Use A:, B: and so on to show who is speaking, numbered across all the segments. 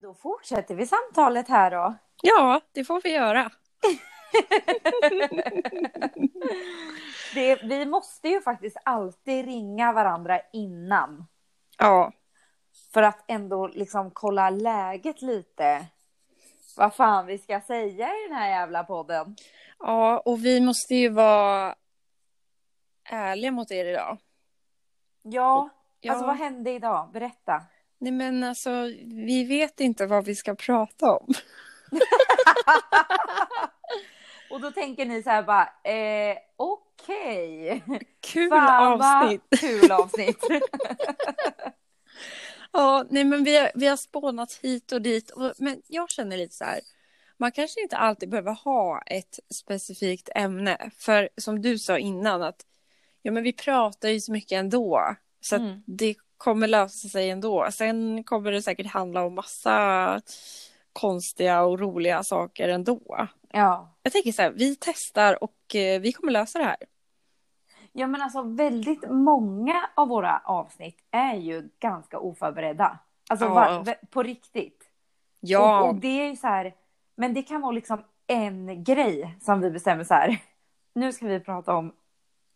A: Då fortsätter vi samtalet här då.
B: Ja, det får vi göra.
A: Det, vi måste ju faktiskt alltid ringa varandra innan.
B: Ja,
A: För att ändå liksom kolla läget lite. Vad fan vi ska säga i den här jävla podden.
B: ja och vi måste ju vara ärliga mot er idag.
A: Ja,
B: Ja.
A: alltså vad hände idag? Berätta.
B: Nej men alltså, vi vet inte vad vi ska prata om.
A: Och då tänker ni så här bara, eh, okej.
B: Kul
A: Fan, vad
B: avsnitt!
A: Kul avsnitt.
B: Ja, nej men vi har, vi har spånat hit och dit. Och, men jag känner lite så här. Man kanske inte alltid behöver ha ett specifikt ämne. För som du sa innan att ja, men vi pratar ju så mycket ändå. Så att
A: Mm.
B: det kommer lösa sig ändå. Sen kommer det säkert handla om massa konstiga och roliga saker ändå.
A: ja.
B: Jag tänker så här, vi testar och eh, vi kommer lösa det här.
A: ja, men alltså väldigt många av våra avsnitt är ju ganska oförberedda. Alltså
B: Ja.
A: va- va- på riktigt. Och, och
B: Ja,
A: det är ju så här, men det kan vara liksom en grej som vi bestämmer så här. Nu ska vi prata om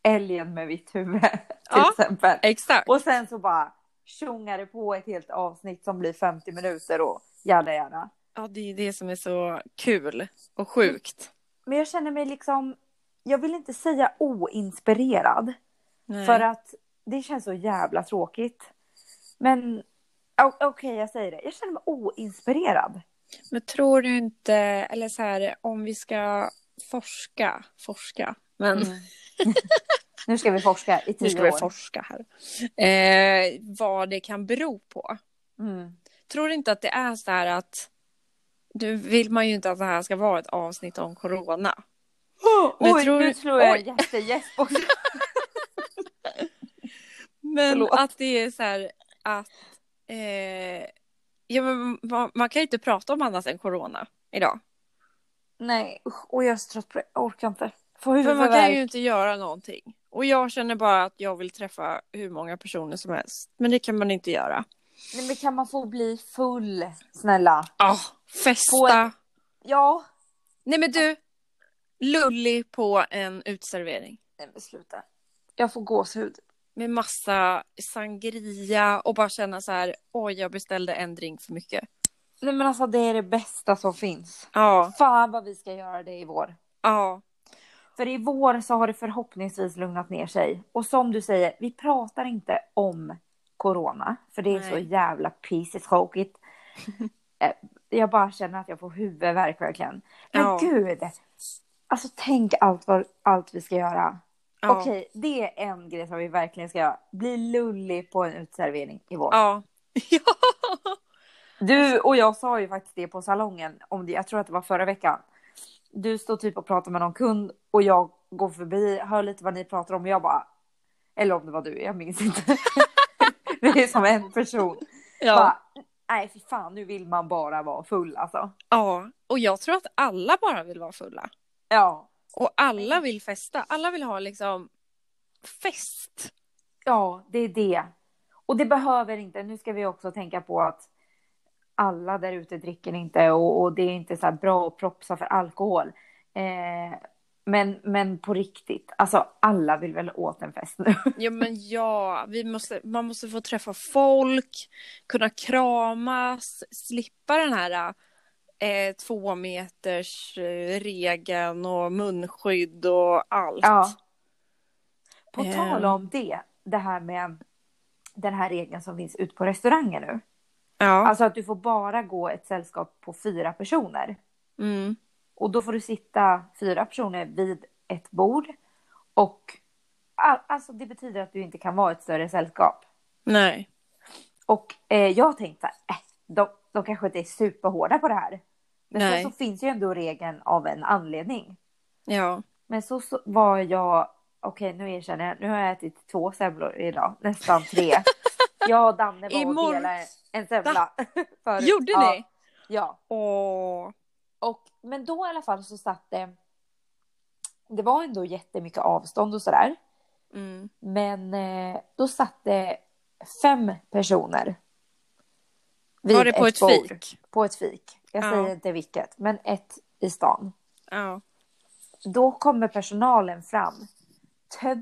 A: älgen med vitt huvud till
B: Ja.
A: exempel.
B: exakt.
A: Och sen så bara tjongar det på ett helt avsnitt som blir 50 minuter och jada jada.
B: Ja, det är det som är så kul och sjukt.
A: Men jag känner mig liksom, jag vill inte säga oinspirerad
B: Nej.
A: för att det känns så jävla tråkigt. Men o- okej, jag säger det. Jag känner mig oinspirerad.
B: Men tror du inte, eller så här, om vi ska forska, forska, men
A: nu ska vi forska i tio
B: Mm. nu ska vi
A: år.
B: forska här, eh, vad det kan bero på.
A: mm.
B: Tror du inte att det är så här att, nu vill man ju inte att det här ska vara ett avsnitt om corona. Men
A: Oj,
B: tror
A: nu
B: du-
A: tror jag
B: oj.
A: en jättegäsp också.
B: Men
A: Förlåt.
B: att det är så här att, eh, ja men man, man kan ju inte prata om annat än corona idag.
A: Nej, usch, och jag är så trött på det. Jag orkar inte. Får
B: För man kan ju
A: huvudvärk.
B: inte göra någonting. Och jag känner bara att jag vill träffa hur många personer som helst. Men det kan man inte göra.
A: Nej, men kan man få bli full, snälla?
B: Ja,
A: På
B: festa.
A: en- Ja.
B: Nej men du, lullig på en utservering.
A: Nej, men sluta. Jag får gåshud.
B: Med massa sangria och bara känna så här, oj jag beställde en drink för mycket.
A: Nej, men alltså det är det bästa som finns.
B: Ja,
A: Fan vad vi ska göra det i vår.
B: ja,
A: För i vår så har det förhoppningsvis lugnat ner sig. Och som du säger, vi pratar inte om corona. För det är
B: Nej.
A: så jävla pisstråkigt. Eh, jag bara känner att jag får huvudvärk verkligen. Men
B: Ja.
A: gud! Alltså tänk allt, vad, allt vi ska göra.
B: ja.
A: Okej, det är en grej som vi verkligen ska göra. Bli lullig på en utservering i vår.
B: Ja. ja.
A: Du och jag sa ju faktiskt det på salongen, om det, jag tror att det var förra veckan. Du står typ och pratar med någon kund och jag går förbi, hör lite vad ni pratar om och jag bara... Eller om det var du, jag minns inte. det är som en person.
B: Ja.
A: Bara, Nej, fy fan, nu vill man bara vara full alltså.
B: ja. Och jag tror att alla bara vill vara fulla.
A: Ja,
B: Och alla vill festa. Alla vill ha liksom fest.
A: ja, det är det. Och det behöver inte, nu ska vi också tänka på att alla där ute dricker inte och, och det är inte så här bra att propsa för alkohol. Eh, men, men på riktigt, alltså alla vill väl åt en fest nu?
B: Ja men ja, vi måste, man måste få träffa folk, kunna kramas, slippa den här eh, två meters eh, regeln och munskydd och allt.
A: Ja. På
B: Eh.
A: tal om det, det här med den här regeln som finns ut på restauranger nu.
B: ja.
A: Alltså att du får bara gå ett sällskap på fyra personer.
B: Mm.
A: Och då får du sitta fyra personer vid ett bord. Och all- alltså det betyder att du inte kan vara ett större sällskap.
B: Nej.
A: Och eh, jag tänkte att äh, de, de kanske inte är superhårda på det här. Men
B: Nej.
A: sen så finns ju ändå regeln av en anledning.
B: Ja.
A: Men så, så var jag, okej nu erkänner jag, nu har jag ätit två semlor idag, nästan tre. jag och Danne var och
B: Imorgon-
A: delade en semla. förut.
B: Gjorde
A: ja,
B: ni?
A: Ja.
B: Åh.
A: Och, men då i alla fall så satt det, det var ändå jättemycket avstånd och sådär.
B: Mm.
A: Men eh, då satt det fem personer vid
B: Var det på ett,
A: bord.
B: fik?
A: På ett fik. Jag
B: Ja.
A: säger inte vilket, men ett i stan.
B: Ja.
A: Då kommer personalen fram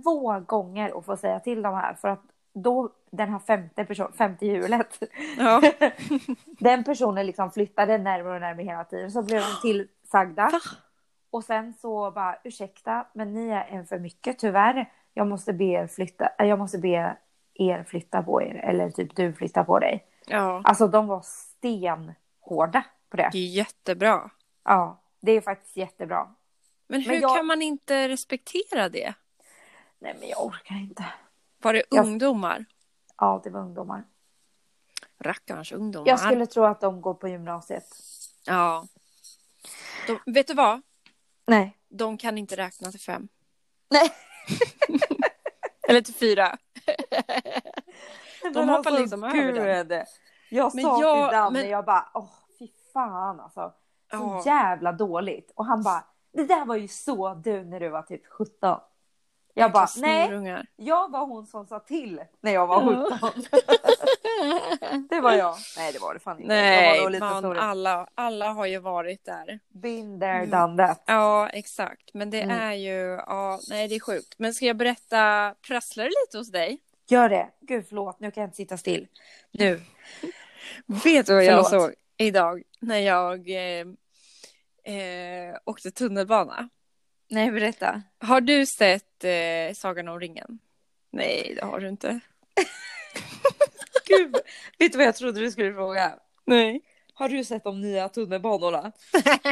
A: två gånger och får säga till de här för att då den här femte person, femte hjulet,
B: ja.
A: den personen liksom flyttade närmare och närmare hela tiden. Så blev de tillsagda.
B: Va?
A: Och sen så bara, ursäkta, men ni är en för mycket tyvärr. Jag måste be er flytta, äh, jag måste be er flytta på er. Eller typ du flytta på dig.
B: ja.
A: Alltså de var stenhårda på det.
B: Det är jättebra.
A: Ja, det är faktiskt jättebra.
B: Men hur
A: Men jag-
B: kan man inte respektera det?
A: Nej men jag orkar inte.
B: Var det
A: Jag-
B: ungdomar?
A: Ja, det var ungdomar.
B: Rackarns ungdomar.
A: Jag skulle tro att de går på gymnasiet.
B: Ja. De, vet du vad?
A: Nej.
B: De kan inte räkna till fem.
A: Nej.
B: Eller till fyra. hoppar liksom över
A: gud. Jag
B: Men
A: sa
B: jag-
A: till Danne,
B: men-
A: jag bara, åh fy fan alltså. Så
B: Ja.
A: jävla dåligt. Och han bara, det där var ju så du när du var typ 17. Jag
B: Jäkla
A: bara, nej,
B: snorungar.
A: jag var hon som sa till när jag var 17. Det var jag. Nej, det var det fan inte. jag var nog
B: Nej,
A: lite
B: man,
A: snorig.
B: alla, alla har ju varit där.
A: Been there,
B: Mm.
A: done that.
B: Ja, exakt. Men det
A: Mm.
B: är ju... Ja, nej, det är sjukt. Men ska jag berätta... Prasslar det lite hos dig?
A: Gör det. Gud, förlåt, nu kan jag inte sitta still.
B: Nu. Vet du vad jag
A: Förlåt.
B: såg idag när jag eh, eh, åkte tunnelbana?
A: Nej, berätta.
B: Har du sett eh, Sagan om ringen? Nej, det har du inte.
A: Gud, vet du vad jag trodde du skulle fråga?
B: Nej.
A: Har du sett de nya tunnelbanorna?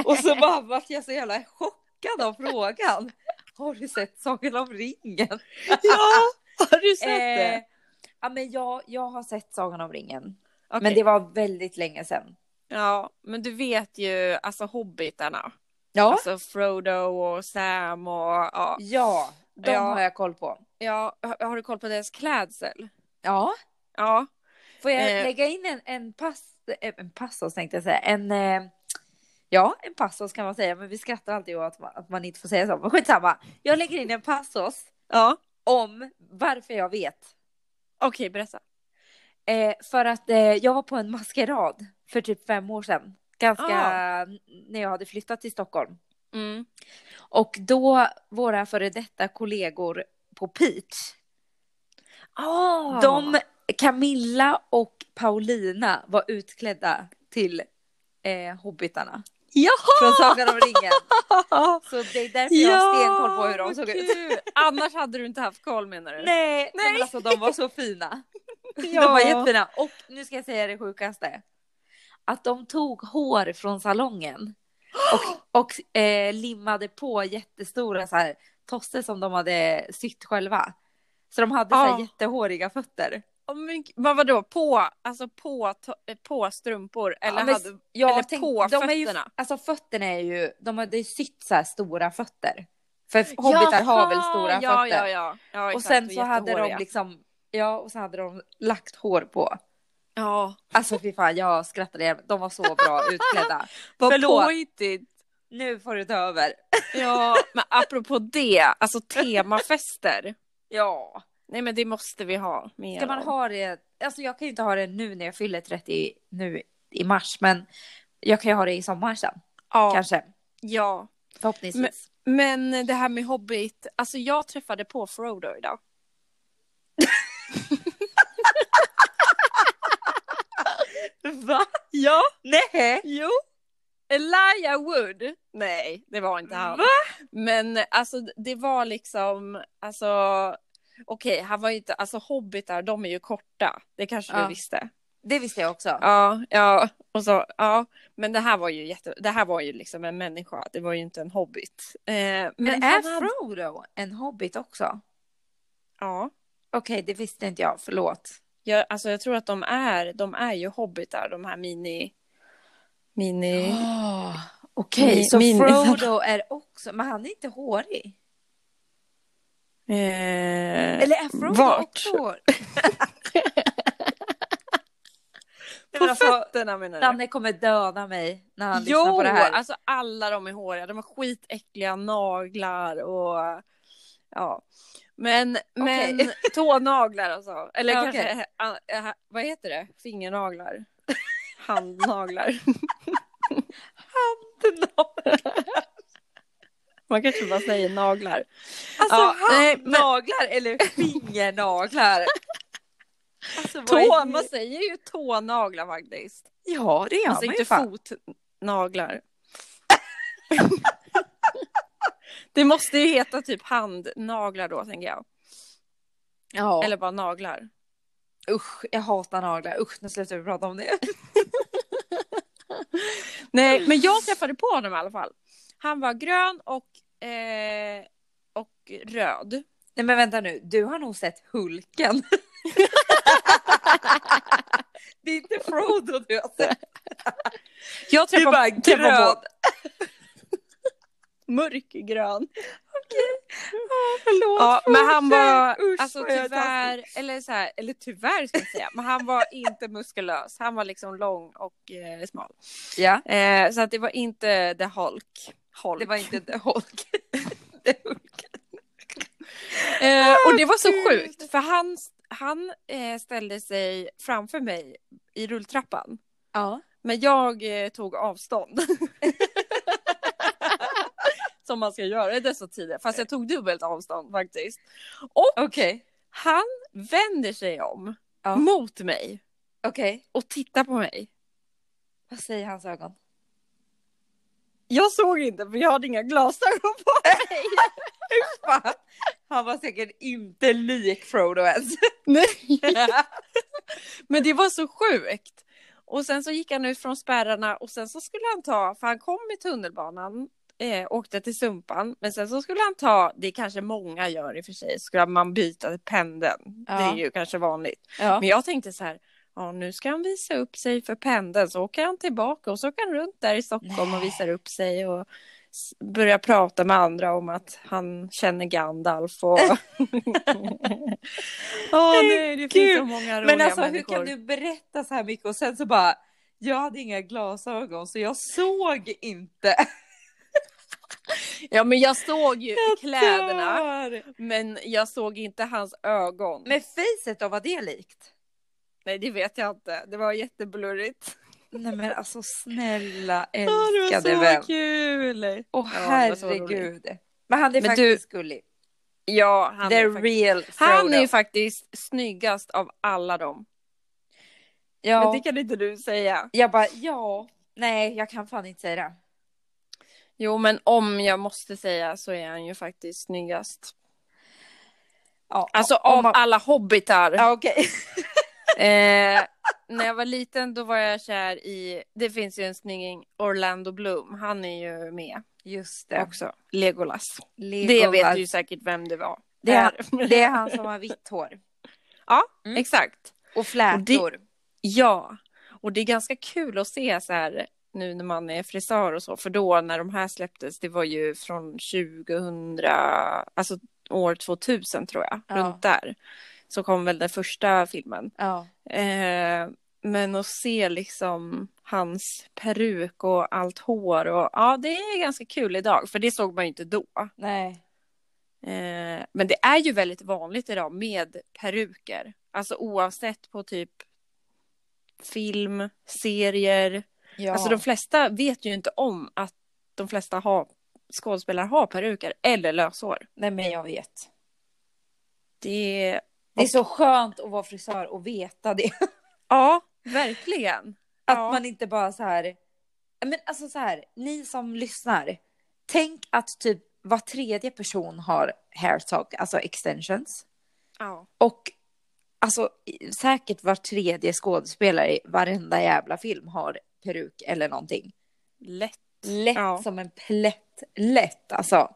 A: Och så bara vart jag så jävla chockad av frågan. Har du sett Sagan om ringen?
B: Ja, har du sett
A: Eh,
B: det?
A: ja, men jag, jag har sett Sagan om ringen.
B: Okej.
A: Men det var väldigt länge sedan.
B: Ja, men du vet ju alltså hobbitarna.
A: Ja,
B: Alltså Frodo och Sam och ja.
A: ja de
B: Ja.
A: har jag koll på.
B: ja. har- Har du koll på deras klädsel?
A: Ja.
B: Ja.
A: Får jag
B: Eh.
A: lägga in en, en, pass, eh, en passus tänkte jag säga. En, eh, ja, en passus kan man säga, men vi skrattar alltid åt att man, att man inte får säga så. Men skitsamma, jag lägger in en passus
B: Ja.
A: om varför jag vet.
B: Okej, berätta.
A: Eh, för att eh, jag var på en maskerad för typ fem år sedan. Ganska
B: Ah.
A: när jag hade flyttat till Stockholm.
B: Mm.
A: Och då våra före detta kollegor på Peach.
B: Oh.
A: De, Camilla och Paulina var utklädda till eh, hobbitarna.
B: Jaha!
A: Från Sagan om ringen. Så det är därför jag har stenkoll på hur de
B: vad
A: såg ut.
B: kul. Annars hade du inte haft koll menar du?
A: Nej, nej. Men alltså, de var så fina. De var jättefina. Och nu ska jag säga det sjukaste. Att de tog hår från salongen och, och eh, limmade på jättestora så här, tosser som de hade sytt själva. Så de hade så här,
B: Ah.
A: jättehåriga fötter.
B: Åh, men, men vadå, på, alltså på, to- på strumpor? Eller,
A: Ja, men
B: hade,
A: jag
B: eller
A: tänkte-
B: på
A: de är ju-
B: fötterna?
A: Alltså fötterna är ju, de hade ju sytt så här stora fötter. För hobbitar har väl stora
B: ja,
A: fötter.
B: Ja, ja, ja.
A: och
B: exakt,
A: sen så hade de
B: jättehåriga.
A: liksom, ja och så hade de lagt hår på.
B: Ja,
A: Alltså fy fan jag skrattade ihjäl mig. De var så bra utklädda.
B: vad
A: Förlåt.
B: påhittigt.
A: Nu får du ta över.
B: Ja, men apropå det, alltså temafester.
A: Ja.
B: Nej men det måste vi ha mer
A: Ska man
B: av.
A: ha det, alltså jag kan ju inte ha det nu när jag fyller 30 nu i mars men jag kan ju ha det i sommar sen
B: ja,
A: kanske.
B: ja.
A: Förhoppningsvis.
B: Men det här med Hobbit, alltså jag träffade på Frodo idag.
A: Va?
B: Ja,
A: Nej.
B: jo. Elijah Wood. Nej, det var inte han.
A: Va?
B: Men alltså det var liksom, alltså okej, han var ju inte, alltså hobbitar de är ju korta. Det kanske
A: Ja.
B: du visste.
A: Det visste jag också.
B: Ja, ja, och så, ja, men det här var ju jätte, det här var ju liksom en människa, det var ju inte en hobbit. Eh, men
A: Men
B: han
A: är
B: hade-
A: Frodo en hobbit också?
B: Ja,
A: Okej, det visste inte jag. Förlåt.
B: jag, alltså jag tror att de är, de är ju hobbitar, de här mini, mini,
A: Oh, Okej,
B: Min-
A: så
B: min-
A: Frodo är också... Men han är inte hårig.
B: eh,
A: Eller är Frodo
B: vart?
A: också hårig?
B: på
A: men alltså,
B: fötterna menar du?
A: Danne kommer döda mig när han lyssnar
B: Jo,
A: på det här.
B: alltså alla de är håriga, de har skitäckliga naglar och ja. Men, men
A: Okej.
B: tånaglar alltså, eller
A: Ja,
B: kanske, eh, eh, vad heter det, fingernaglar. handnaglar.
A: Handnaglar.
B: Man kanske bara säger naglar.
A: Alltså
B: Ja, nej, men-
A: handnaglar eller fingernaglar. Alltså, vad
B: Tå,
A: är
B: man
A: det?
B: säger ju tånaglar faktiskt.
A: Ja, det gör
B: alltså
A: man
B: inte
A: ju fan.
B: fotnaglar. det måste ju heta typ handnaglar då tänker jag.
A: Ja.
B: Eller bara naglar.
A: usch, jag hatar naglar. Usch, nu slutar vi prata om det.
B: Nej, men jag träffade på honom i alla fall. Han var grön och, eh, och röd.
A: Nej men vänta nu, du har nog sett Hulken. det är inte Frodo du har sett.
B: Jag
A: Du är
B: träffade,
A: bara
B: träffade
A: grön.
B: på mörkgrön.
A: Förlåt.
B: Ja, men han var
A: Usch,
B: alltså
A: vad jag är
B: tyvärr, eller så här, eller tyvärr ska jag säga, men han var inte muskulös. Han var liksom lång och eh, smal.
A: Ja,
B: Eh, så att det var inte The Hulk. Hulk.
A: det var inte The Hulk. The Hulk.
B: Eh, och det var så
A: Gud.
B: sjukt för han, han eh, ställde sig framför mig i rulltrappan.
A: Ja.
B: Men jag eh, tog avstånd. Som man ska göra i dessa tider. Fast jag tog dubbelt avstånd faktiskt. Och
A: Okej,
B: han vänder sig om
A: Ja.
B: mot mig
A: okej.
B: och tittar på mig.
A: Vad säger hans ögon?
B: Jag såg inte för jag hade inga glasögon på mig.
A: Fan. Han var säkert inte lik Frodo ens.
B: Nej. Men det var så sjukt. Och sen så gick han ut från spärrarna och sen så skulle han ta, för han kom i tunnelbanan, eh, åkte till Sumpan, men sen så skulle han ta, det kanske många gör i och för sig, skulle man byta till pendeln.
A: Ja.
B: Det är ju kanske vanligt.
A: ja.
B: Men jag tänkte så här, ja nu ska han visa upp sig för pendeln, så åker han tillbaka och så åker han runt där i Stockholm och visar upp sig och s- börjar prata med andra om att han känner Gandalf och... Åh nej, det finns
A: Gud.
B: så många roliga
A: Men alltså
B: människor.
A: hur kan du berätta så här mycket och sen så bara jag hade inga glasögon så jag såg inte.
B: Ja men jag såg ju kläderna,
A: Dör.
B: men jag såg inte hans ögon.
A: Men facet då, var det likt?
B: Nej det vet jag inte, det var jätteblurrigt.
A: Nej men alltså snälla
B: Åh, det var
A: älskade
B: så
A: vän.
B: kul!
A: Åh
B: Ja, det var så
A: herregud. Men han är
B: Men du-
A: faktiskt gullig.
B: Ja, han
A: The
B: är faktiskt...
A: real Frodo.
B: Han är ju faktiskt snyggast av alla dem. Men
A: ja.
B: det kan inte du säga.
A: Jag bara ja. Nej jag kan fan inte säga det.
B: Jo, men om jag måste säga så är han ju faktiskt snyggast.
A: Ja,
B: Alltså
A: om
B: av
A: man-
B: alla hobbitar.
A: Ja, okej.
B: Eh, när jag var liten då var jag kär i, det finns ju en snygging, Orlando Bloom. Han är ju med
A: Just det.
B: också. Legolas. Det
A: Legolas.
B: vet du ju säkert vem det var. Eh,
A: Det är han,
B: Där.
A: det är han som har vitt hår. Mm.
B: Exakt.
A: Och flätor.
B: Ja, och det är ganska kul att se så här nu när man är frisör och så, för då när de här släpptes, det var ju från 2000, alltså år 2000 tror jag,
A: Ja.
B: runt där, så kom väl den första filmen.
A: Ja.
B: Eh, men att se liksom hans peruk och allt hår och ja, det är ganska kul idag, för det såg man ju inte då.
A: Nej.
B: Eh, men det är ju väldigt vanligt idag med peruker. Alltså oavsett på typ film, serier.
A: Ja.
B: Alltså de flesta vet ju inte om att de flesta har, skådespelare har peruker eller löshår.
A: Nej men jag vet.
B: Det är...
A: Det är så skönt att vara frisör och veta det.
B: Ja, verkligen.
A: Att
B: Ja.
A: man inte bara så här. Men alltså så här, ni som lyssnar. Tänk att typ var tredje person har hair talk, alltså extensions.
B: Ja.
A: Och alltså i- säkert var tredje skådespelare i varenda jävla film har peruk eller någonting.
B: Lätt.
A: Lätt
B: Ja.
A: som en plätt, lätt alltså.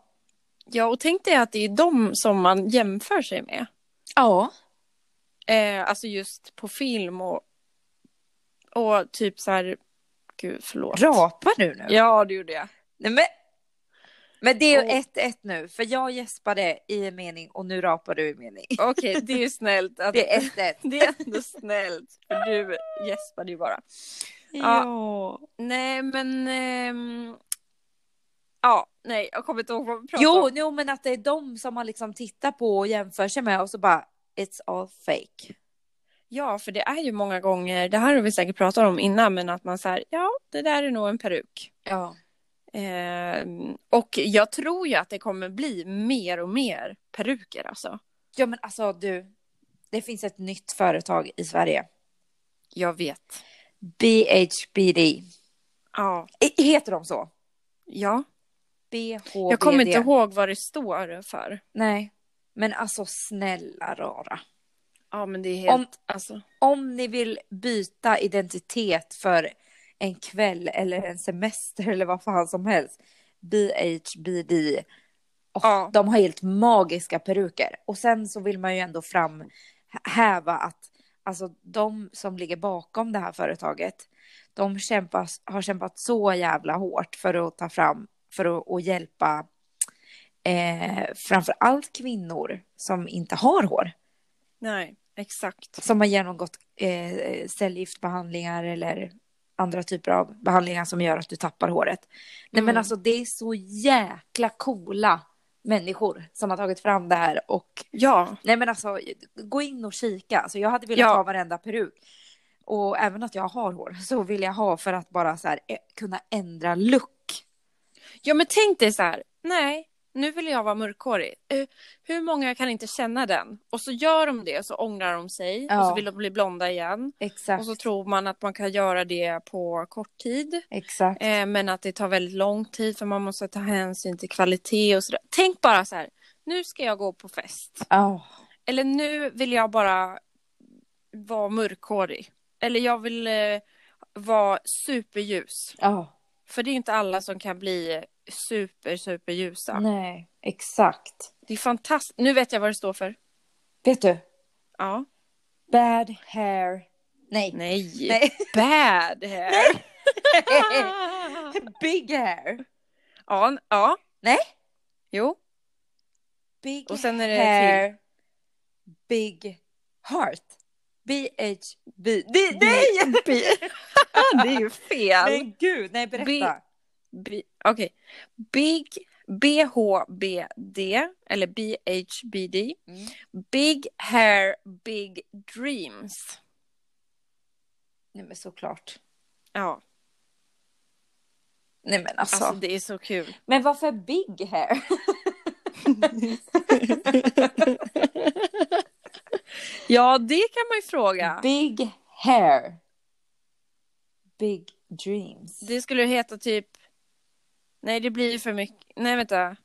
B: Ja, och tänk dig att det är de som man jämför sig med.
A: Ja.
B: Eh, alltså just på film och, och typ så här... Gud, förlåt.
A: Rapar du nu?
B: Ja, det gjorde jag.
A: Nej, men, men det är ju
B: Och-
A: 1-1 nu, för jag gäspade i en mening och nu rapar du i en mening.
B: Okej, det är ju snällt. Att...
A: Det är 1-1.
B: Det är ändå snällt, för du gäspade ju bara. Ja. Nej, men... ehm, Ja, nej, jag kommer inte ihåg vad vi pratade
A: Jo,
B: om.
A: jo, men att det är de som man liksom tittar på och jämför sig med och så bara it's all fake.
B: Ja, för det är ju många gånger, det här har vi säkert pratat om innan, men att man säger ja, det där är nog en peruk.
A: Ja.
B: Eh, och jag tror ju att det kommer bli mer och mer peruker alltså.
A: Ja, men alltså du, det finns ett nytt företag i Sverige.
B: Jag vet.
A: BHBD.
B: Ja.
A: E- Heter de så?
B: ja.
A: BHBD.
B: Jag kommer inte ihåg vad det står för.
A: Nej, men alltså snälla rara.
B: Ja, men det är helt,
A: Om-
B: alltså.
A: Om ni vill byta identitet för en kväll eller en semester eller vad fan som helst. BHBD. Och
B: Ja.
A: De har helt magiska peruker. Och sen så vill man ju ändå fram häva att alltså, de som ligger bakom det här företaget. De kämpas, har kämpat så jävla hårt för att ta fram, för att, att hjälpa eh, framför allt kvinnor som inte har hår
B: Nej, exakt.
A: som har genomgått eh, cellgiftbehandlingar eller andra typer av behandlingar som gör att du tappar håret. Nej men
B: Mm.
A: alltså det är så jäkla coola människor som har tagit fram det här och
B: Ja,
A: nej men alltså gå in och kika. Alltså, jag hade velat
B: Ja.
A: ha varenda peruk och även att jag har hår så vill jag ha för att bara så här eh, kunna ändra look.
B: Ja men tänk dig så här, nej, nu vill jag vara mörkhårig. Eh, hur många kan inte känna den? Och så gör de det, så ångrar de sig och
A: Ja.
B: så vill de bli blonda igen.
A: Exakt.
B: Och så tror man att man kan göra det på kort tid.
A: Exakt.
B: Eh, men att det tar väldigt lång tid för man måste ta hänsyn till kvalitet och sådär. Tänk bara så här, nu ska jag gå på fest.
A: Ja.
B: Eller nu vill jag bara vara mörkhårig. Eller jag vill eh, vara superljus.
A: Ja.
B: För det är ju inte alla som kan bli super, superljusa.
A: Nej. Exakt.
B: Det är fantastiskt. Nu vet jag vad det står för.
A: Vet du?
B: Ja.
A: Bad hair. Nej.
B: Nej.
A: Nej.
B: Bad hair.
A: Big hair.
B: ja, n- ja.
A: Nej.
B: Jo.
A: Big
B: Och sen är det
A: hair. Big heart. BHB. Det, nej!
B: Ah, det är ju fel.
A: Men gud, nej berätta.
B: B- B- Okej. Big BHBD eller BHBD.
A: Mm.
B: Big hair, big dreams.
A: Nej men såklart.
B: Ja,
A: Nej men alltså.
B: alltså det är så kul.
A: Men varför big hair?
B: ja, det kan man ju fråga.
A: Big hair. Big dreams.
B: Det skulle heta typ... Nej, det blir ju för mycket. Nej, vänta.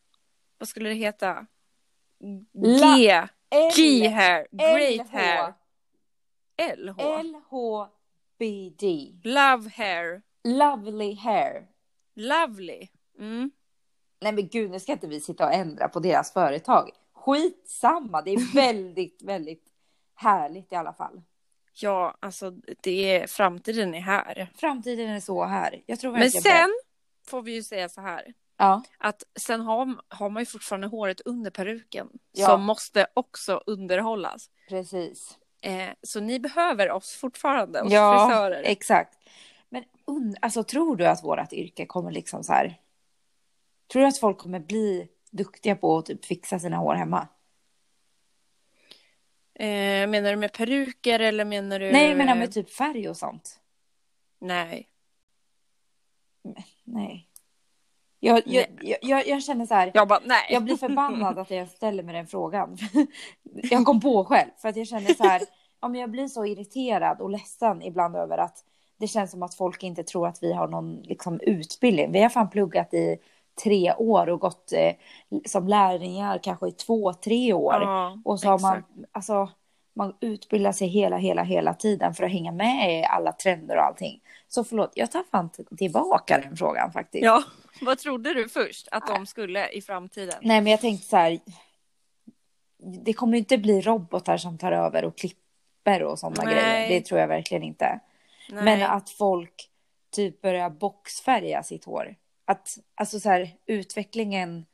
B: Vad skulle det heta?
A: La-
B: G.
A: L-
B: G-hair. Great hair. LH.
A: LHBD.
B: Love hair.
A: Lovely hair.
B: Lovely. Mm.
A: Nej men gud, nu ska inte vi sitta och ändra på deras företag. Skitsamma, det är väldigt, väldigt härligt i alla fall.
B: Ja, alltså det är, framtiden är här.
A: Framtiden är så här. Jag tror
B: Men
A: verkligen
B: sen
A: det.
B: får vi ju säga så här.
A: Ja,
B: Att sen har, har man ju fortfarande håret under peruken.
A: Ja.
B: Som måste också underhållas.
A: precis.
B: Eh, så ni behöver oss fortfarande, oss
A: Ja,
B: frisörer.
A: exakt. Men und- alltså, tror du att vårt yrke kommer liksom så här? Tror du att folk kommer bli duktiga på att typ fixa sina hår hemma?
B: Eh, menar du med peruker eller menar du?
A: Nej, men med typ färg och sånt.
B: Nej.
A: Nej. Jag, jag, jag, jag, jag känner så här.
B: Jag bara nej.
A: Jag blir förbannad att jag ställer mig den frågan. Jag kom på själv för att jag känner så här. Ja, men jag blir så irriterad och ledsen ibland över att det känns som att folk inte tror att vi har någon liksom, utbildning. Vi har fan pluggat i tre år och gått eh, som lärlingar kanske i två, tre år.
B: Ja,
A: och så har man,
B: exakt.
A: alltså, man utbildar sig hela, hela, hela tiden för att hänga med i alla trender och allting. Så förlåt, jag tar fan t- tillbaka den frågan faktiskt.
B: Ja, vad trodde du först att de skulle i framtiden?
A: Nej, men jag tänkte så här. Det kommer ju inte bli robotar som tar över och klipper och sådana
B: Nej.
A: grejer. Det tror jag verkligen inte.
B: Nej.
A: Men att folk typ börjar boxfärga sitt hår. Att alltså så här utvecklingen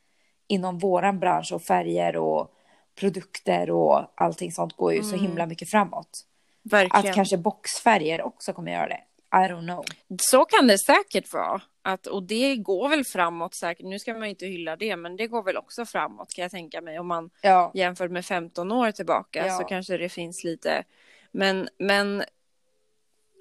A: inom våran bransch och färger och produkter och allting sånt går ju så
B: Mm.
A: himla mycket framåt. Att
B: Verkligen.
A: kanske boxfärger också kommer göra det. I don't know.
B: Så kan det säkert vara. Att, och det går väl framåt säkert. Nu ska man ju inte hylla det, men det går väl också framåt kan jag tänka mig. Om man
A: Ja,
B: jämför med 15 år tillbaka
A: Ja.
B: så kanske det finns lite Men, men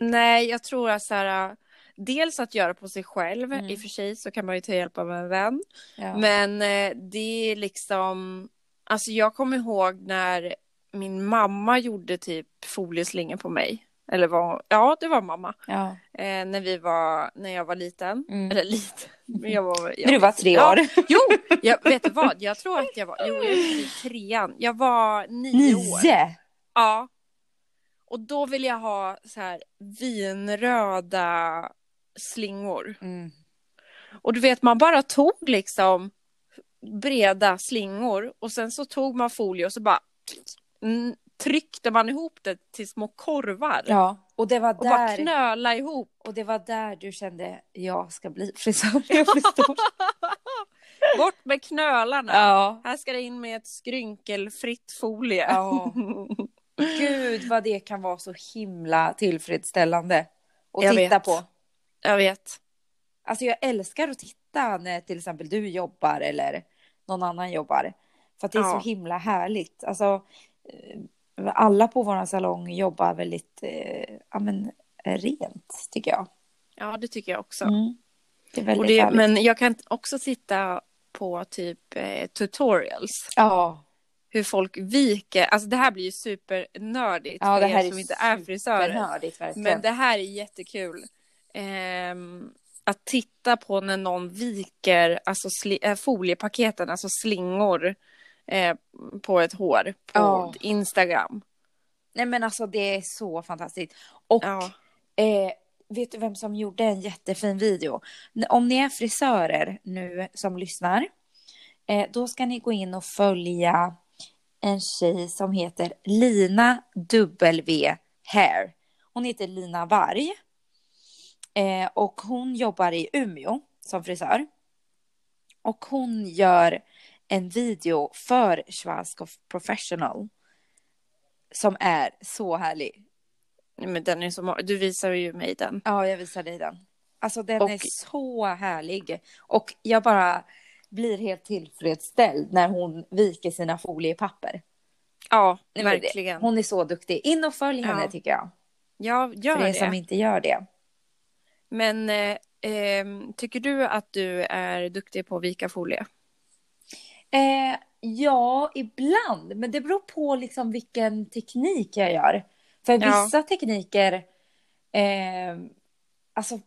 B: nej, jag tror att så här, äh, dels att göra på sig själv,
A: Mm.
B: i och för sig så kan man ju ta hjälp av en vän.
A: Ja.
B: Men eh, det är liksom, alltså jag kommer ihåg när min mamma gjorde typ folieslingor på mig. Eller var, ja det var mamma.
A: ja.
B: Eh, när vi var, när jag var liten.
A: Mm.
B: Eller liten, men jag var... Jag,
A: När du var tre
B: Ja,
A: år.
B: Jo, jag, vet du vad? Jag tror att jag var, jo, jag gick i trean. Jag var nio, år.
A: Nio!
B: Ja. Och då ville jag ha så här vinröda slingor.
A: Mm.
B: Och du vet, man bara tog liksom breda slingor och sen så tog man folie och så bara mm, tryckte man ihop det till små korvar.
A: Ja, och det var
B: Och bara
A: där.
B: knöla ihop.
A: Och det var där du kände, jag ska bli frisör. Jag blir stor.
B: Bort med knölarna.
A: ja.
B: Här ska det in med ett skrynkelfritt folie.
A: ja. Gud vad det kan vara så himla tillfredsställande att
B: Jag
A: titta
B: vet.
A: på.
B: Jag vet.
A: Alltså jag älskar att titta när till exempel du jobbar eller någon annan jobbar. För att det är
B: Ja.
A: så himla härligt. Alltså, eh, alla på vår salong jobbar väldigt eh, ja, men, eh, rent, tycker jag.
B: Ja, det tycker jag också.
A: Mm. Det är väldigt
B: och det,
A: härligt.
B: men jag kan också titta på typ eh, tutorials.
A: Ja,
B: Hur folk viker. Alltså det här blir ju supernördigt
A: Ja,
B: för
A: det här
B: er
A: är
B: som inte är frisörer.
A: benördigt verkligen.
B: Men det här är jättekul. Ehm, att titta på när någon viker alltså sli- eh, foliepaketen, alltså slingor eh, på ett hår på
A: Ja.
B: Instagram.
A: Nej men alltså det är så fantastiskt. Och
B: Ja.
A: Eh, vet du vem som gjorde en jättefin video? N- Om ni är frisörer nu som lyssnar, eh, då ska ni gå in och följa en tjej som heter Lina W Hair. Hon heter Lina Varg. Eh, och hon jobbar i Umeå som frisör. Och hon gör en video för Schwarzkopf Professional. Som är så härlig.
B: Nej, Men den är så ma- du visar ju mig den.
A: Ja, jag visar dig den. Alltså den
B: Och-
A: är så härlig. Och jag bara blir helt tillfredsställd när hon viker sina foliepapper.
B: Ja,
A: Nej, men det-
B: verkligen.
A: Hon är så duktig. In och följ henne
B: Ja,
A: tycker jag.
B: Ja, gör
A: För er
B: det.
A: som inte gör det.
B: Men eh, ehm, tycker du att du är duktig på att vika folie?
A: Eh, ja, ibland. Men det beror på liksom vilken teknik jag gör. För
B: Ja.
A: vissa tekniker... Eh, alltså,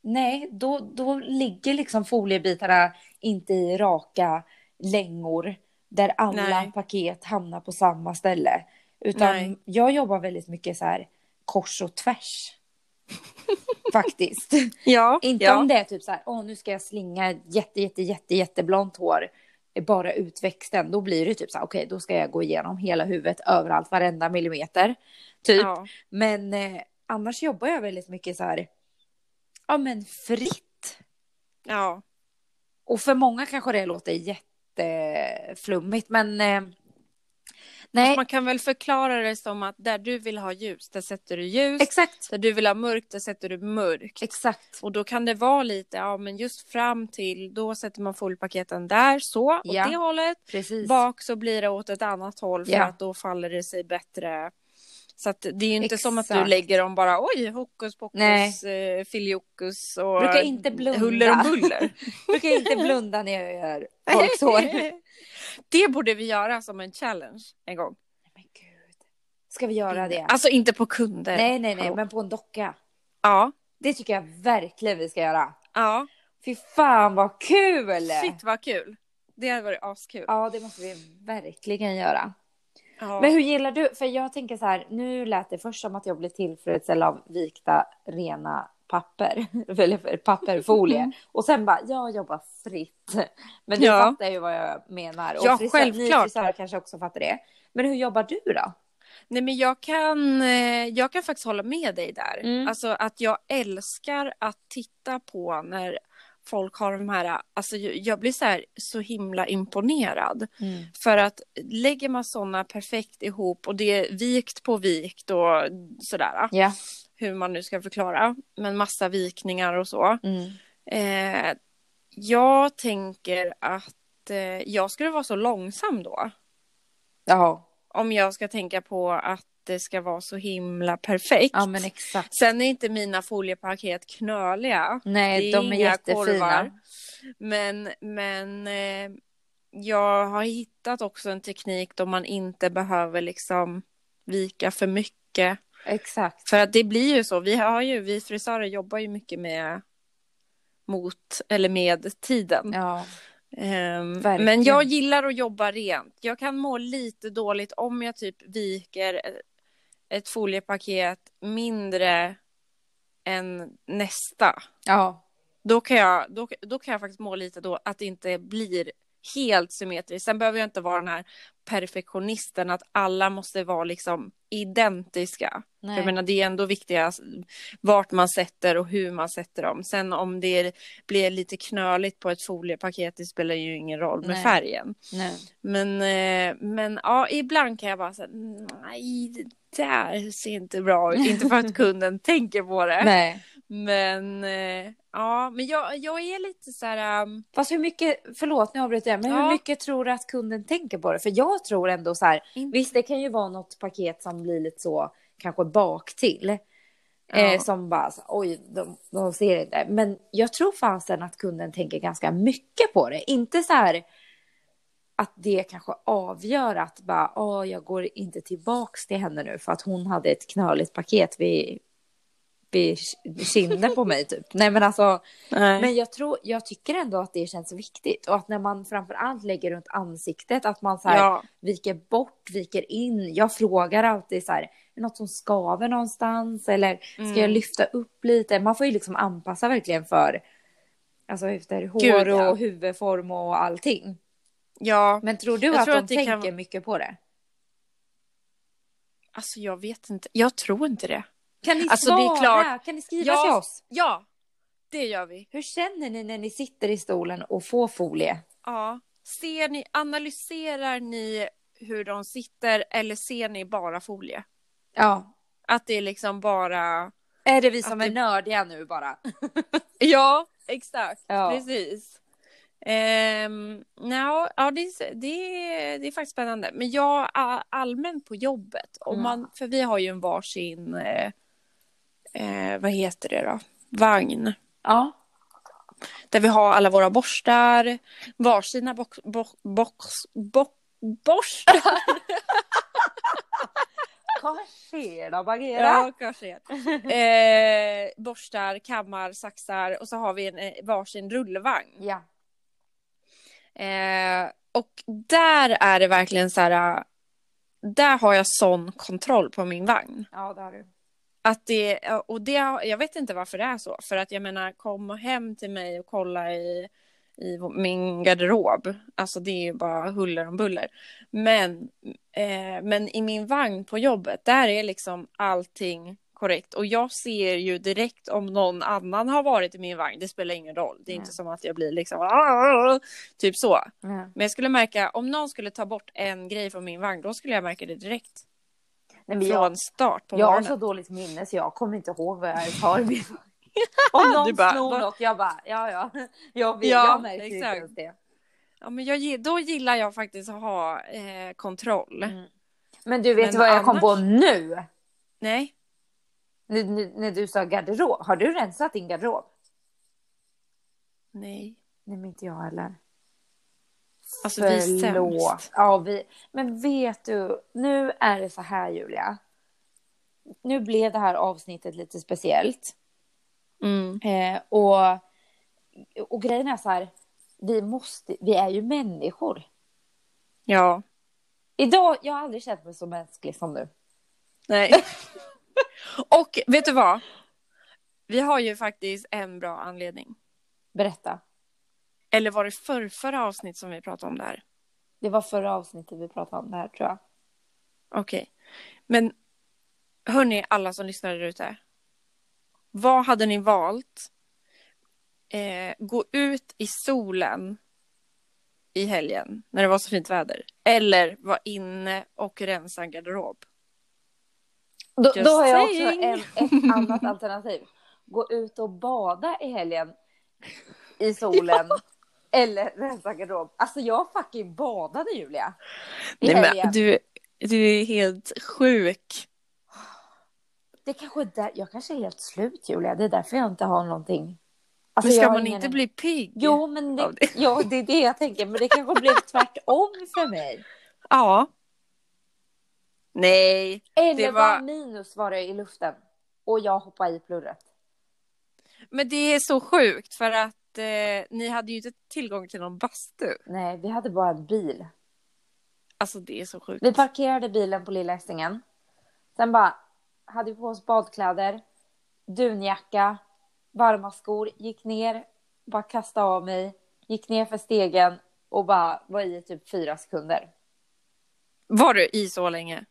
A: nej, då, då ligger liksom foliebitarna inte i raka längor där alla
B: Nej.
A: paket hamnar på samma ställe. Utan
B: Nej.
A: jag jobbar väldigt mycket så här kors och tvärs. Faktiskt.
B: Ja,
A: Inte
B: ja.
A: om det är typ så här, åh nu ska jag slinga jätte, jätte, jätte, jätteblont hår, eh, bara utväxten. Då blir det typ så här, okej då ska jag gå igenom hela huvudet överallt, varenda millimeter. Typ.
B: Ja,
A: Men eh, annars jobbar jag väldigt mycket så här, ja men fritt.
B: ja.
A: Och för många kanske det låter jätteflummigt men eh, nej,
B: Alltså, Man kan väl förklara det som att där du vill ha ljus, där sätter du ljus.
A: exakt,
B: Där du vill ha mörkt, där sätter du mörkt.
A: exakt.
B: Och då kan det vara lite, ja men just fram till, då sätter man foliepaketen där, så, åt
A: Ja.
B: det hållet.
A: Precis.
B: Bak så blir det åt ett annat håll för
A: Ja.
B: att då faller det sig bättre. Så att det är ju inte som att du
A: Exakt.
B: lägger dem bara oj hokus pokus, eh, filiokus och
A: Brukar inte blunda.
B: huller om buller.
A: Brukar inte blunda när jag gör folks hår. Nej,
B: det borde vi göra som en challenge en gång.
A: men gud. Ska vi göra det?
B: Alltså inte på kunder.
A: Nej, nej, nej,
B: Hallå.
A: men på en docka.
B: Ja,
A: Det tycker jag verkligen vi ska göra.
B: ja.
A: Fy fan vad kul!
B: Shit vad kul. Det hade varit askul.
A: Ja, det måste vi verkligen göra.
B: Ja.
A: Men hur gillar du? För jag tänker så här, nu lät det först som att jag blev tillfredsställd av vikta rena papper, eller för- papperfolie. Och sen bara, jag jobbar fritt. Men du
B: Ja.
A: fattar ju vad jag menar. Och
B: Ja,
A: Ni
B: självklart.
A: frisörer kanske också fattar det. Men hur jobbar du då?
B: Nej men jag kan, eh, jag kan faktiskt hålla med dig där.
A: Mm.
B: Alltså att jag älskar att titta på när folk har de här, alltså jag jag blir så här så himla imponerad.
A: Mm.
B: För att lägger man sådana perfekt ihop och det är vikt på vikt och sådär,
A: Ja.
B: hur man nu ska förklara, men massa vikningar och så.
A: Mm.
B: Eh, jag tänker att eh, jag skulle vara så långsam då
A: Ja.
B: om jag ska tänka på att det ska vara så himla perfekt.
A: Ja, men exakt.
B: Sen är inte mina foliepaket knöliga.
A: Nej,
B: Det är
A: de är
B: inga
A: jättefina.
B: korvar. Men, men eh, jag har hittat också en teknik då man inte behöver liksom vika för mycket.
A: Exakt.
B: För att det blir ju så. Vi, har ju, vi frisörer jobbar ju mycket med mot eller med tiden.
A: Ja,
B: Ehm,
A: Verkligen.
B: men jag gillar att jobba rent. Jag kan må lite dåligt om jag typ viker ett- ett foliepaket mindre än nästa.
A: ja,
B: Då kan jag, då, då kan jag faktiskt må lite då att det inte blir helt symmetriskt. Sen behöver jag inte vara den här perfektionisten att alla måste vara liksom identiska.
A: nej.
B: Jag menar det är ändå viktigast vart man sätter och hur man sätter dem. Sen om det är, blir lite knöligt på ett foliepaket, det spelar ju ingen roll med
A: Nej.
B: färgen.
A: nej.
B: Men, eh, men ja, ibland kan jag bara säga nej, det där ser inte bra ut. Inte för att kunden tänker på det.
A: nej.
B: Men eh, ja, men jag, jag är lite så här, um,
A: Fast hur mycket, förlåt nu avbryter jag, men hur
B: Ja.
A: mycket tror du att kunden tänker på det? För jag tror ändå så här,
B: In-
A: visst det kan ju vara något paket som blir lite så, kanske bak till.
B: Ja.
A: Eh, som bara, så, oj, de, de ser inte. Men jag tror fasen att kunden tänker ganska mycket på det. Inte så här att det kanske avgör att bara, åh, jag går inte tillbaks till henne nu för att hon hade ett knöligt paket vid, vid kinden på mig typ. Nej men alltså,
B: nej.
A: men jag, tror, jag tycker ändå att det känns viktigt och att när man framför allt lägger runt ansiktet att man så här,
B: ja,
A: viker bort, viker in. Jag frågar alltid så här, är det något som skaver någonstans eller ska
B: Mm.
A: jag lyfta upp lite? Man får ju liksom anpassa verkligen för alltså efter hår
B: Gud, ja.
A: och huvudform och allting.
B: ja,
A: Men tror du
B: Jag
A: att
B: tror
A: de
B: att det
A: tänker
B: kan-
A: mycket på det?
B: alltså jag vet inte, jag tror inte det.
A: Kan ni
B: Alltså,
A: svara?
B: det är klart-
A: Kan ni skriva
B: Ja.
A: till oss?
B: Ja, det gör vi.
A: Hur känner ni när ni sitter i stolen och får folie?
B: Ja. Ser ni, analyserar ni hur de sitter eller ser ni bara folie?
A: Ja.
B: Att det är liksom bara...
A: Är det vi som
B: Att
A: är nördiga nu bara?
B: Ja, exakt.
A: Ja.
B: Precis. Um, ja, det, är- det, är- det är faktiskt spännande. Men jag a- allmänt på jobbet, om
A: Mm.
B: man, för vi har ju en varsin, eh, eh, vad heter det då, vagn.
A: Ja.
B: Där vi har alla våra borstar, varsina box, box, box, box, borstar.
A: Kanske då, Bagheera.
B: Ja, kanske det. eh, borstar, kammar, saxar och så har vi en eh, varsin rullvagn.
A: Ja.
B: Eh, och där är det verkligen så här. eh, Där har jag sån kontroll på min vagn.
A: ja, det har du.
B: Att det, och det, jag vet inte varför det är så. För att jag menar, kom hem till mig och kolla i, i min garderob. Alltså det är ju bara huller om buller. Men, eh, men i min vagn på jobbet, där är liksom allting korrekt. Och jag ser ju direkt om någon annan har varit i min vagn. Det spelar ingen roll. Det är
A: Nej.
B: inte som att jag blir liksom... "Aah!" Typ så.
A: Ja.
B: Men jag skulle märka, om någon skulle ta bort en grej från min vagn, då skulle jag märka det direkt.
A: Nej, men jag,
B: Från start på
A: jag har
B: morgonen.
A: så dåligt minne så jag kommer inte ihåg vad jag har i min Om
B: Du
A: någon
B: bara,
A: snor
B: vad-
A: något, jag bara, ja ja. Jag, vet,
B: Ja,
A: jag märker inte
B: exakt.
A: ens det.
B: Ja, men jag, gi- då gillar jag faktiskt att ha eh, kontroll.
A: Mm. Men du, vet
B: Men
A: du vad jag kom
B: annars-
A: på nu?
B: Nej.
A: Nu, nu? När du sa garderob, har du rensat din garderob?
B: Nej.
A: Nej, men inte jag heller.
B: Alltså vi är sämst.
A: Ja, vi... Men vet du, nu är det så här Julia. Nu blev det här avsnittet lite speciellt.
B: Mm.
A: Eh, och, och grejen är så här, vi, måste, vi är ju människor.
B: Ja.
A: Idag, jag har aldrig känt mig så mänsklig som nu.
B: Nej. Och vet du vad? Vi har ju faktiskt en bra anledning.
A: Berätta.
B: Eller var det förrförra avsnitt som vi pratade om där?
A: Det var förra avsnittet vi pratade om det här tror jag.
B: Okej. Men hörni, alla som lyssnar där ute. Vad hade ni valt? Eh, gå ut i solen i helgen när det var så fint väder. Eller vara inne och rensa en garderob.
A: Då,
B: Just
A: då har jag också
B: saying.
A: en, ett annat alternativ. Gå ut och bada i helgen i solen. Eller rensa garderob. Alltså jag fucking badade Julia. I
B: Nej,
A: helgen.
B: men du, du är helt sjuk.
A: Det kanske är där, jag kanske är helt slut Julia, det är därför jag inte har någonting. Alltså,
B: Men
A: jag
B: ska
A: har
B: man
A: ingen-
B: inte bli pigg?
A: Jo, men det,
B: av det?
A: ja, det är det jag tänker, men det kanske blev tvärtom för mig.
B: Ja. Nej.
A: Eller
B: Det
A: det
B: var-
A: var minus var det i luften och jag hoppade i plurret.
B: Men det är så sjukt för att eh, ni hade ju inte tillgång till någon bastu.
A: Nej, vi hade bara en bil.
B: Alltså det är så sjukt.
A: Vi parkerade bilen på Lilla Essingen. Sen bara hade vi på oss badkläder, dunjacka, varma skor, gick ner, bara kastade av mig, gick ner för stegen och bara var i typ fyra sekunder.
B: Var du i så länge?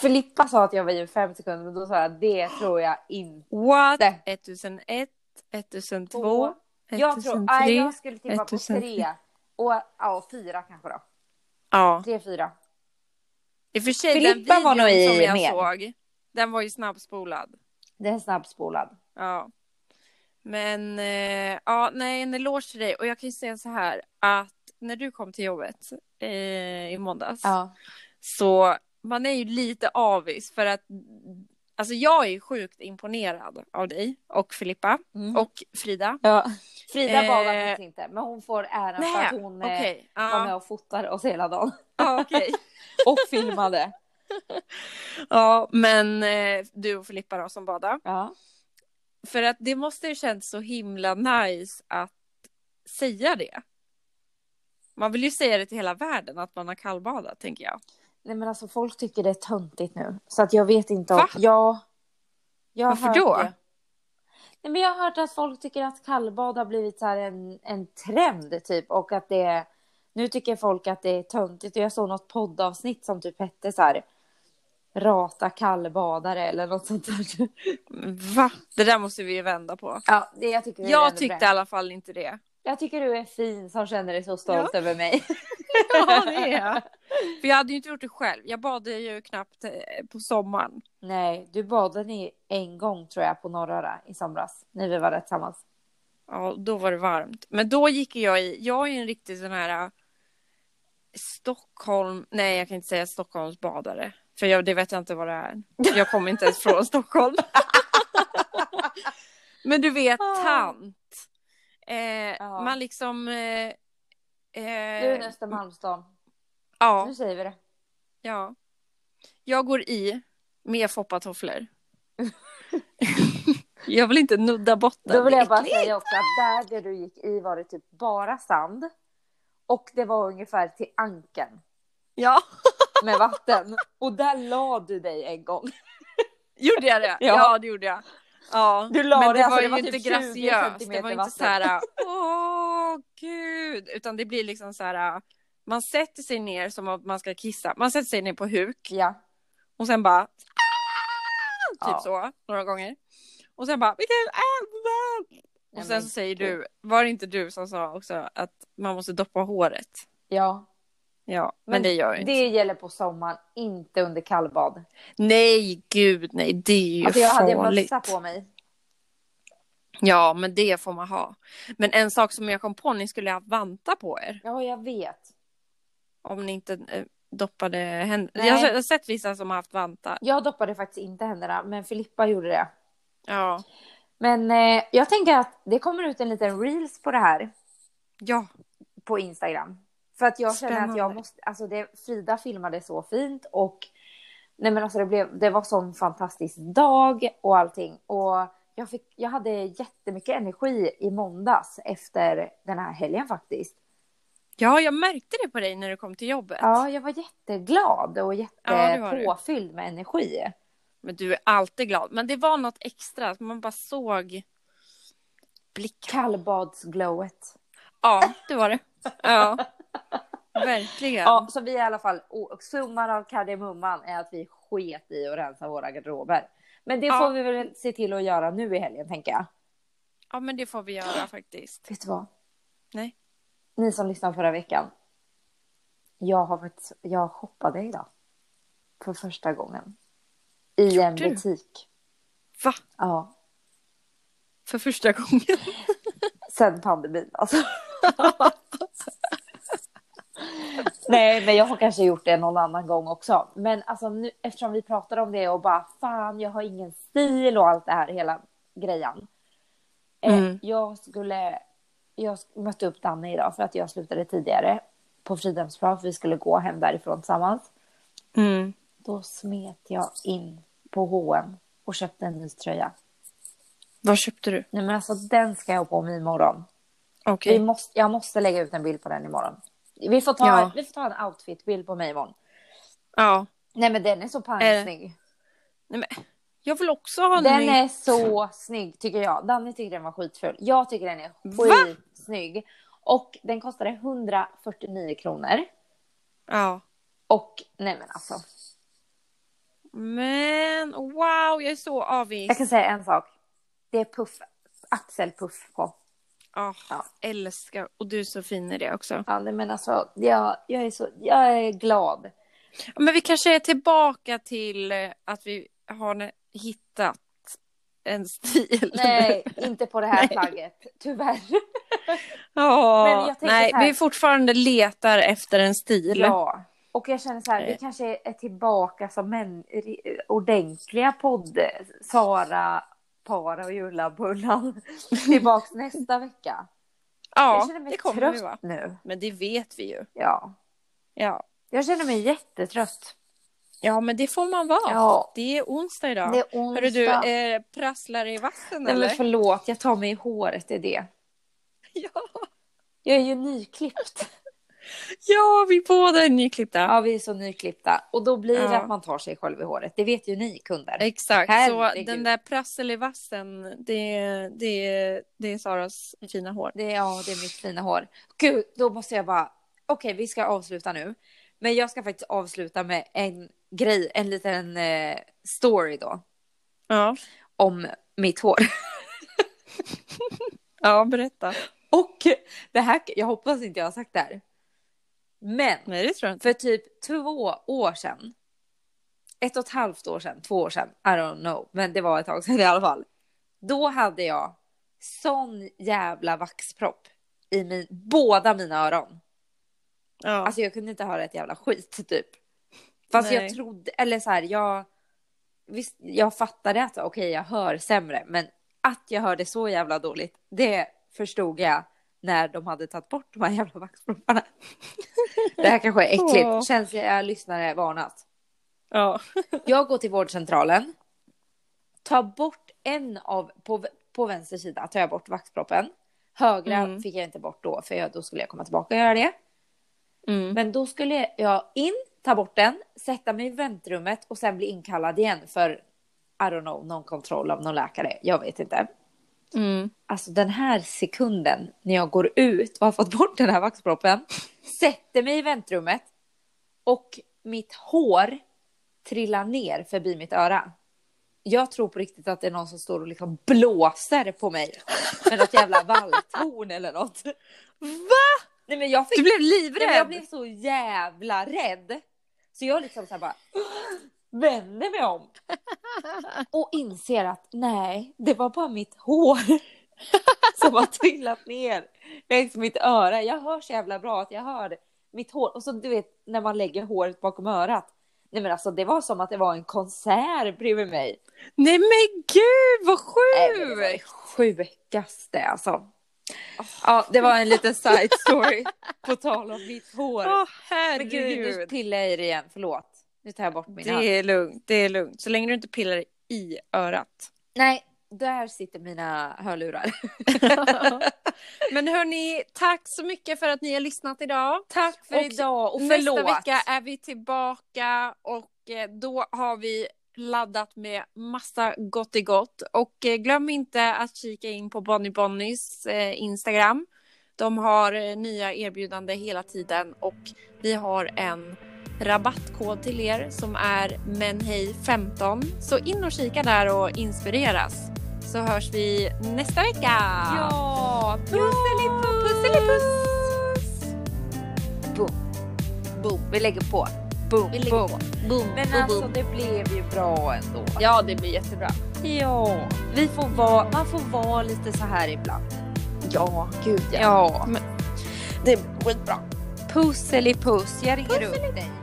A: Filippa sa att jag var i fem sekunder, men då sa jag det tror jag inte.
B: What?
A: Nej.
B: 1001, 1002,
A: Två. Jag tror,
B: 1003.
A: nej, jag skulle tippa på
B: 1003.
A: tre. Och ja, fyra kanske då.
B: Ja.
A: Tre, fyra.
B: I och för sig
A: Filippa
B: den
A: var nog i
B: videon som jag
A: mer.
B: såg, den var ju snabbspolad.
A: Det är snabbspolad.
B: Ja. Men eh, ja, nej, en eloge till dig. Och jag kan ju säga så här att när du kom till jobbet eh, i måndags
A: Ja.
B: så man är ju lite avis för att alltså jag är sjukt imponerad av dig och Filippa
A: Mm.
B: och Frida.
A: ja. Frida
B: Eh,
A: badade faktiskt inte, men hon får äran för
B: Nej,
A: att hon eh,
B: okej.
A: var
B: Ja,
A: med och fotade oss hela dagen.
B: ja, okej.
A: Och filmade.
B: ja, men eh, du och Filippa då som badade.
A: Ja.
B: För att det måste ju känns så himla nice att säga det. Man vill ju säga det till hela världen att man har kallbadat, tänker jag.
A: Nej men alltså folk tycker det är töntigt nu. Så att jag vet inte om...
B: Va?
A: Ja. Jag har
B: Varför
A: hört
B: då?
A: Det. Nej men jag har hört att folk tycker att kallbad har blivit så här en, en trend typ. Och att det är... Nu tycker folk att det är töntigt. Och jag såg något poddavsnitt som typ hette så här... Rata kallbadare eller något sånt där.
B: Va? Det där måste vi ju vända på.
A: Ja, det, jag tycker det är
B: Jag
A: ändå
B: tyckte i
A: bra.
B: alla fall inte det.
A: Jag tycker du är fin som känner dig så stolt över mig.
B: Ja, det är jag. För jag hade ju inte gjort det själv. Jag badade ju knappt eh, på sommaren.
A: Nej, du badade i- en gång tror jag på Norröra i somras när vi var där tillsammans.
B: Ja, då var det varmt. Men då gick jag i, jag är ju en riktig sån här eh, Stockholm, nej jag kan inte säga Stockholmsbadare. För jag, det vet jag inte vad det är. Jag kommer inte ens från Stockholm. Men du vet,
A: Ah.
B: tant. Eh,
A: Ja.
B: Man liksom... Eh, eh,
A: Du är en Östermalmsdam.
B: ja.
A: Nu säger vi det.
B: Ja. Jag går i med foppatofflor. jag vill inte nudda botten.
A: Då vill jag bara
B: Äckligt.
A: säga också att där det du gick i var det typ bara sand. Och det var ungefär till ankeln
B: Ja,
A: med vatten. Och där la du dig en gång.
B: gjorde jag det?
A: Ja.
B: Ja, det gjorde jag. Ja.
A: Du la
B: Men det
A: dig, alltså,
B: var
A: det
B: ju
A: var
B: inte
A: typ 20
B: graciöst. Det
A: centimeter
B: var inte
A: vatten.
B: så här, åh gud. Utan det blir liksom så här, man sätter sig ner som om man ska kissa. Man sätter sig ner på huk
A: Ja.
B: och sen bara, typ
A: Ja.
B: så, några gånger. Och sen bara, vilken ämne!
A: Nej,
B: Och sen
A: men
B: så säger
A: gud.
B: du, var det inte du som sa också att man måste doppa håret?
A: Ja.
B: Ja, men,
A: Men
B: det gör jag inte.
A: Det gäller på sommaren, inte under kallbad.
B: Nej, gud nej, det är ju
A: Alltså jag hade
B: farligt.
A: mössa på mig.
B: Ja, men det får man ha. Men en sak som jag kom på, ni skulle ha vantar på er
A: Ja, jag vet. om
B: om ni inte eh, doppade händerna.
A: Nej.
B: Jag har jag har sett vissa som har haft vantar.
A: Jag doppade faktiskt inte händerna, men Filippa gjorde det.
B: Ja,
A: Men eh, jag tänker att det kommer ut en liten reels på det här
B: ja,
A: på Instagram. För att jag känner att jag
B: Spännande.
A: måste, alltså det, Frida filmade så fint och nej men alltså det, blev, det var sån fantastisk dag och allting. Och jag, fick, jag hade jättemycket energi i måndags efter den här helgen faktiskt.
B: ja, jag märkte det på dig när du kom till jobbet.
A: Ja, jag var jätteglad och
B: Ja, det var du.
A: jättepåfylld med energi.
B: Men du är alltid glad. Men det var något extra, att man bara såg blicken.
A: Kallbadsglowet.
B: Ja, det var det. Ja, verkligen.
A: Ja, så vi i alla fall, och summan av kardemumman är att vi sket i att rensa våra garderober. Men det
B: Ja.
A: får vi väl se till att göra nu i helgen tänker jag.
B: Ja, men det får vi göra faktiskt.
A: Vet du vad?
B: Nej.
A: Ni som lyssnade förra veckan. Jag har faktiskt, jag shoppade idag. För första gången. I en
B: du?
A: butik.
B: Va?
A: Ja.
B: För första gången?
A: Sen pandemin alltså. Nej Nej, men jag har kanske gjort det någon annan gång också. Men alltså, nu, eftersom vi pratar om det och bara fan, jag har ingen stil och allt det här, hela grejen. Eh,
B: Mm.
A: Jag skulle, jag mötte upp Danne idag för att jag slutade tidigare på Fridhemsplan för vi skulle gå hem därifrån tillsammans.
B: Mm.
A: Då smet jag in på H&M och köpte en ny tröja.
B: Vad köpte du?
A: Nej men alltså den ska jag ha på mig imorgon.
B: Okej.
A: Vi måste, jag måste lägga ut en bild på den imorgon. Vi får ta,
B: Ja.
A: vi får ta en outfitbild på mig imorgon.
B: Ja.
A: Nej men den är så
B: Är det?
A: pangsnygg.
B: Nej, men, jag vill också ha en
A: Den
B: ny.
A: är så snygg tycker jag. Danny tycker den var skitful. Jag tycker den är
B: Va?
A: skitsnygg. Och den kostade 149 kronor.
B: Ja.
A: Och nej men alltså.
B: Men wow, jag är så avis.
A: Jag kan säga en sak. Det är puff. Axelpuff på.
B: Ah,
A: Ja.
B: Älskar. Och du är så fin i det också.
A: Ja nej, men alltså jag, jag är så, jag är glad.
B: Men vi kanske är tillbaka till eh, att vi har ne- hittat en stil.
A: Nej inte på det här
B: Nej.
A: plagget. Tyvärr.
B: Ja,
A: Men jag tänker
B: nej,
A: så här-
B: vi fortfarande letar efter en stil.
A: Ja. Och jag känner så här, vi
B: Nej.
A: kanske är tillbaka som män, eh, ri- ordentliga podd Sara, Para och Jullabullan. Tillbaks nästa vecka. jag
B: ja
A: känner mig
B: det kommer
A: trött
B: vi vara.
A: nu.
B: Men det vet vi ju.
A: Ja.
B: Ja.
A: Jag känner mig jättetrött.
B: ja, men det får man vara.
A: Ja.
B: Det är onsdag idag.
A: Det är onsdag.
B: Hörru du, eh, prasslar det i vassen
A: Nej,
B: eller?
A: men förlåt, jag tar mig i håret, det är det.
B: Ja.
A: Jag är ju nyklippt.
B: ja, vi båda är nyklippta.
A: Ja, vi är så nyklippta. Och då blir det
B: Ja.
A: att man tar sig själv i håret. Det vet ju ni kunder.
B: Exakt,
A: Herregud.
B: så den där prassel i vassen, det, det, det är Saras fina hår.
A: Det är, ja, det är mitt fina hår. Gud, då måste jag bara... Okej, vi ska avsluta nu. Men jag ska faktiskt avsluta med en grej, en liten eh, story då.
B: Ja,
A: Om mitt hår.
B: ja berätta.
A: Och det här, jag hoppas inte jag har sagt det här. Men
B: Nej, det tror jag inte.
A: för typ två år sedan. Ett och ett halvt år sedan, två år sedan, I don't know. Men det var ett tag sedan i alla fall. Då hade jag sån jävla vaxpropp i min, båda mina öron.
B: Ja.
A: Alltså jag kunde inte höra ett jävla skit typ. Fast jag
B: Nej.
A: trodde, eller så här, jag... Visst, jag fattade att okej, jag hör sämre, men att jag hörde så jävla dåligt, det förstod jag när de hade tagit bort de här jävla vaxpropparna. Det här kanske är äckligt.
B: Åh.
A: Känsliga lyssnare varnat.
B: ja.
A: Jag går till vårdcentralen. Tar bort en av, på, på vänster sida tar jag bort vaxproppen. Högra
B: Mm.
A: fick jag inte bort då, för jag, då skulle jag komma tillbaka och göra det.
B: Mm.
A: Men då skulle jag in, ta bort den, sätta mig i väntrummet och sen bli inkallad igen för, I don't know, någon kontroll av någon läkare. Jag vet inte.
B: Mm.
A: Alltså den här sekunden när jag går ut och har fått bort den här vaxproppen, sätter mig i väntrummet och mitt hår trillar ner förbi mitt öra. Jag tror på riktigt att det är någon som står och liksom blåser på mig med något jävla valltorn eller något.
B: Va?
A: Nej men jag fick
B: Du blev
A: Nej, men
B: livrädd?
A: jag blev så jävla rädd. Så jag liksom så här bara vänder mig om. Och inser att nej, det var bara mitt hår som har trillat ner längs mitt öra. Jag hör så jävla bra att jag hör mitt hår. Och så du vet när man lägger håret bakom örat. Nej men alltså det var som att det var en konsert bredvid mig.
B: Nej men gud vad
A: Nej, men det var det
B: sjukt!
A: sjukaste alltså. Ja, det var en liten side story på tal om mitt hår.
B: Åh
A: Men gud, nu
B: herregud.
A: pillar jag i det igen. Förlåt. Nu tar jag bort min hand.
B: Det är lugnt, det är lugnt. Så länge du inte pillar i örat.
A: Nej, där sitter mina hörlurar.
B: Men hörni, tack så mycket för att ni har lyssnat idag.
A: Tack för
B: Och
A: idag och
B: Nästa
A: förlåt.
B: vecka är vi tillbaka och eh, då har vi laddat med massa gott i gott. Och eh, glöm inte att kika in på Bonnie Bonnies eh, Instagram. De har eh, nya erbjudanden hela tiden och vi har en rabattkod till er som är menhej15. Så in och kika där och inspireras. Så hörs vi nästa vecka.
A: Ja, pusselipuss. Pusselipuss. Boom. Boom. Vi lägger på. Boom.
B: Vi lägger
A: boom.
B: på. Boom,
A: Men
B: boom,
A: alltså
B: boom.
A: det blev ju bra ändå.
B: Ja, det blir jättebra.
A: Ja, vi får vara, man får vara lite så här ibland.
B: Ja, gud
A: Ja.
B: Det blir skitbra. Pusselipuss, jag ringer upp dig.